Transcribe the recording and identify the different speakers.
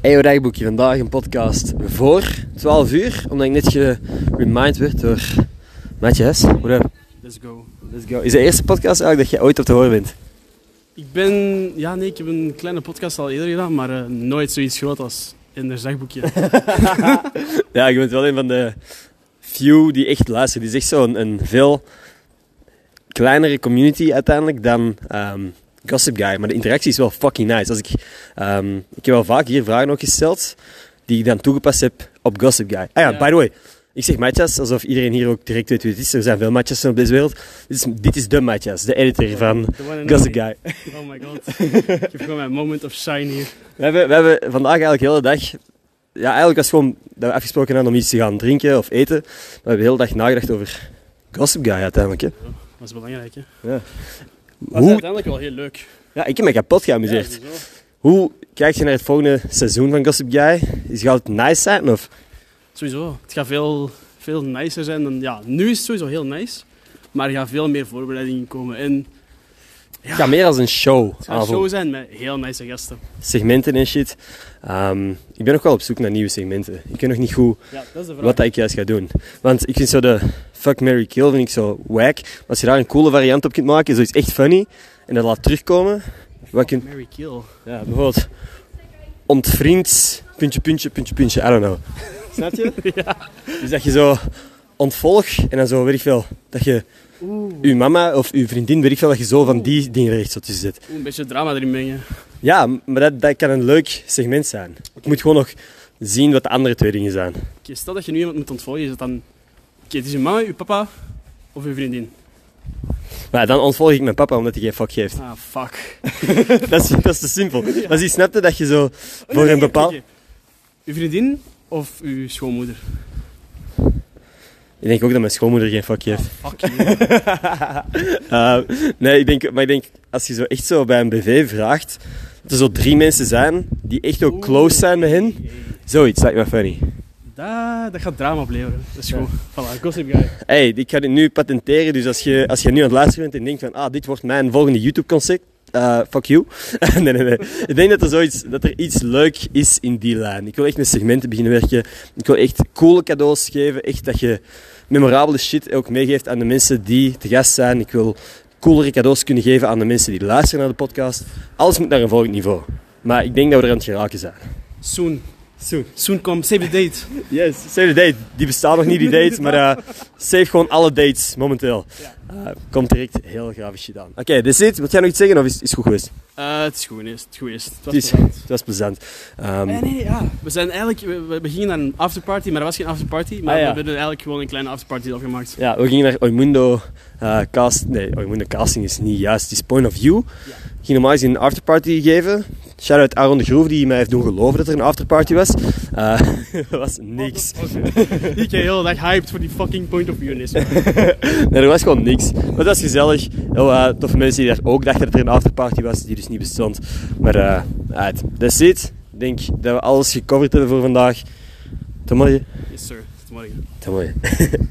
Speaker 1: EO Dagboekje. Vandaag een podcast voor 12 uur. Omdat ik net geremind werd door Maatje Hes. What up?
Speaker 2: Let's go.
Speaker 1: Let's go. Is de eerste podcast eigenlijk dat je ooit op te horen bent?
Speaker 2: Ik ben... Ja, nee, ik heb een kleine podcast al eerder gedaan, maar eh, nooit zoiets groot als in haar zegboekje.
Speaker 1: Ja, je bent wel een van de few die echt luistert. Die is echt zo'n een veel kleinere community uiteindelijk dan ehm, Gossip Guy. Maar de interactie is wel fucking nice. Als ik, ehm, ik heb wel vaak hier vragen ook gesteld die ik dan toegepast heb op Gossip Guy. Ah ja,
Speaker 2: Ja.
Speaker 1: by the way. Ik zeg matjas, alsof iedereen hier ook direct weet wie het is. Er zijn veel matjas op deze wereld. Dit is, dit is de matjas, de editor van
Speaker 2: The one and
Speaker 1: Gossip
Speaker 2: only.
Speaker 1: Guy.
Speaker 2: Oh my god. ik heb gewoon mijn moment of shine hier.
Speaker 1: We hebben, we hebben vandaag eigenlijk de hele dag... Ja, eigenlijk was het gewoon dat we afgesproken hadden om iets te gaan drinken of eten. Maar we hebben de hele dag nagedacht over Gossip Guy uiteindelijk. Hè.
Speaker 2: Dat is belangrijk, hè. Dat is
Speaker 1: Hoe,
Speaker 2: uiteindelijk wel heel leuk.
Speaker 1: ja, ik heb me kapot geamuseerd.
Speaker 2: Ja, sowieso.
Speaker 1: Hoe kijk je naar het volgende seizoen van Gossip Guy? Is gaat het nice zijn? Of?
Speaker 2: Sowieso. Het gaat veel, veel nicer zijn dan... Ja, nu is het sowieso heel nice, maar er gaat veel meer voorbereidingen komen. En
Speaker 1: Het gaat meer als een show
Speaker 2: het gaat
Speaker 1: aanvoelen.
Speaker 2: zo zijn met heel nice gasten.
Speaker 1: Segmenten en shit. Ehm, ik ben nog wel op zoek naar nieuwe segmenten. Ik weet nog niet goed
Speaker 2: Ja, dat is de vraag.
Speaker 1: wat dat ik juist ga doen. Want ik vind zo de fuck, Mary kill vind ik zo wack. Maar als je daar een coole variant op kunt maken, zoiets echt funny, en dat laat terugkomen... Wat kun,
Speaker 2: Mary Kill.
Speaker 1: Ja, bijvoorbeeld ontvriend, puntje, puntje, puntje, puntje, I don't know. Snap je? ja. Dus dat je zo ontvolg en dan zo, weet ik veel, dat je
Speaker 2: Oeh.
Speaker 1: uw mama of uw vriendin, weet ik veel, dat je zo van die dingen er echt zo tussen zit.
Speaker 2: Oeh, een beetje drama erin mengen.
Speaker 1: Ja, maar dat, dat kan een leuk segment zijn. Ik moet gewoon nog zien wat de andere twee dingen zijn.
Speaker 2: Oké, stel dat je nu iemand moet ontvolgen, is het dan... Oké, het is je mama, je papa of je vriendin.
Speaker 1: Maar dan ontvolg ik mijn papa omdat hij geen fuck geeft.
Speaker 2: Ah, fuck.
Speaker 1: Dat is, dat is te simpel. Maar ze snapte dat je zo voor een bepaald...
Speaker 2: Oké. Uw vriendin of uw schoonmoeder?
Speaker 1: Ik denk ook dat mijn schoonmoeder geen fuck geeft.
Speaker 2: Ah, Fuck you.
Speaker 1: Eh, nee, ik denk, maar ik denk, als je zo echt zo bij een BV vraagt, dat er zo drie mensen zijn die echt ook
Speaker 2: Oeh.
Speaker 1: close zijn met hen, zoiets lijkt me funny.
Speaker 2: dat, dat gaat drama opleveren. Dat is goed. Voilà, gossip guy.
Speaker 1: Hey, ik ga dit nu patenteren, dus als je, als je nu aan het luisteren bent en denkt van, ah, dit wordt mijn volgende YouTube-concept, eh, fuck you. nee, nee, nee. Ik denk dat er, zoiets, dat er iets leuk is in die lijn. Ik wil echt met segmenten beginnen werken. Ik wil echt coole cadeaus geven. Echt dat je memorabele shit ook meegeeft aan de mensen die te gast zijn. Ik wil coolere cadeaus kunnen geven aan de mensen die luisteren naar de podcast. Alles moet naar een volgend niveau. Maar ik denk dat we er aan het geraken zijn.
Speaker 2: Soon.
Speaker 1: Soon.
Speaker 2: Soon come, save the date.
Speaker 1: Yes, save the date. Die bestaan nog niet, die dates, maar eh, save gewoon alle dates momenteel. Eh, komt direct heel grafisch shit aan. Oké, dit is het. Wat jij nog iets zeggen of is is het goed geweest?
Speaker 2: Eh, het is goed geweest. Het, is goed geweest. het was
Speaker 1: Het is-
Speaker 2: plezant.
Speaker 1: Het was plezant. Ehm,
Speaker 2: Nee, nee, ja. We zijn eigenlijk... We, we- we gingen naar een afterparty, maar er was geen afterparty. Maar
Speaker 1: Ah, ja.
Speaker 2: we hebben er eigenlijk gewoon een kleine afterparty afgemaakt.
Speaker 1: Ja, we gingen naar Oimundo eh, cast. Nee, Oimundo casting is niet juist. Het is point of view.
Speaker 2: Ja.
Speaker 1: Ik ging normaal gezien een afterparty geven. Shout out Aaron de Groef die mij heeft doen geloven dat er een afterparty was. Eh, Dat was niks.
Speaker 2: Ik ben heel erg hyped voor die fucking point of view.
Speaker 1: Nee, er was gewoon niks. Maar dat was gezellig. Heel eh, toffe mensen die daar ook dachten dat er een afterparty was, die dus niet bestond. Maar eh, uit. That's it. Ik denk dat we alles gecoverd hebben voor vandaag. Tot morgen.
Speaker 2: Yes sir, tot morgen.
Speaker 1: Tot morgen.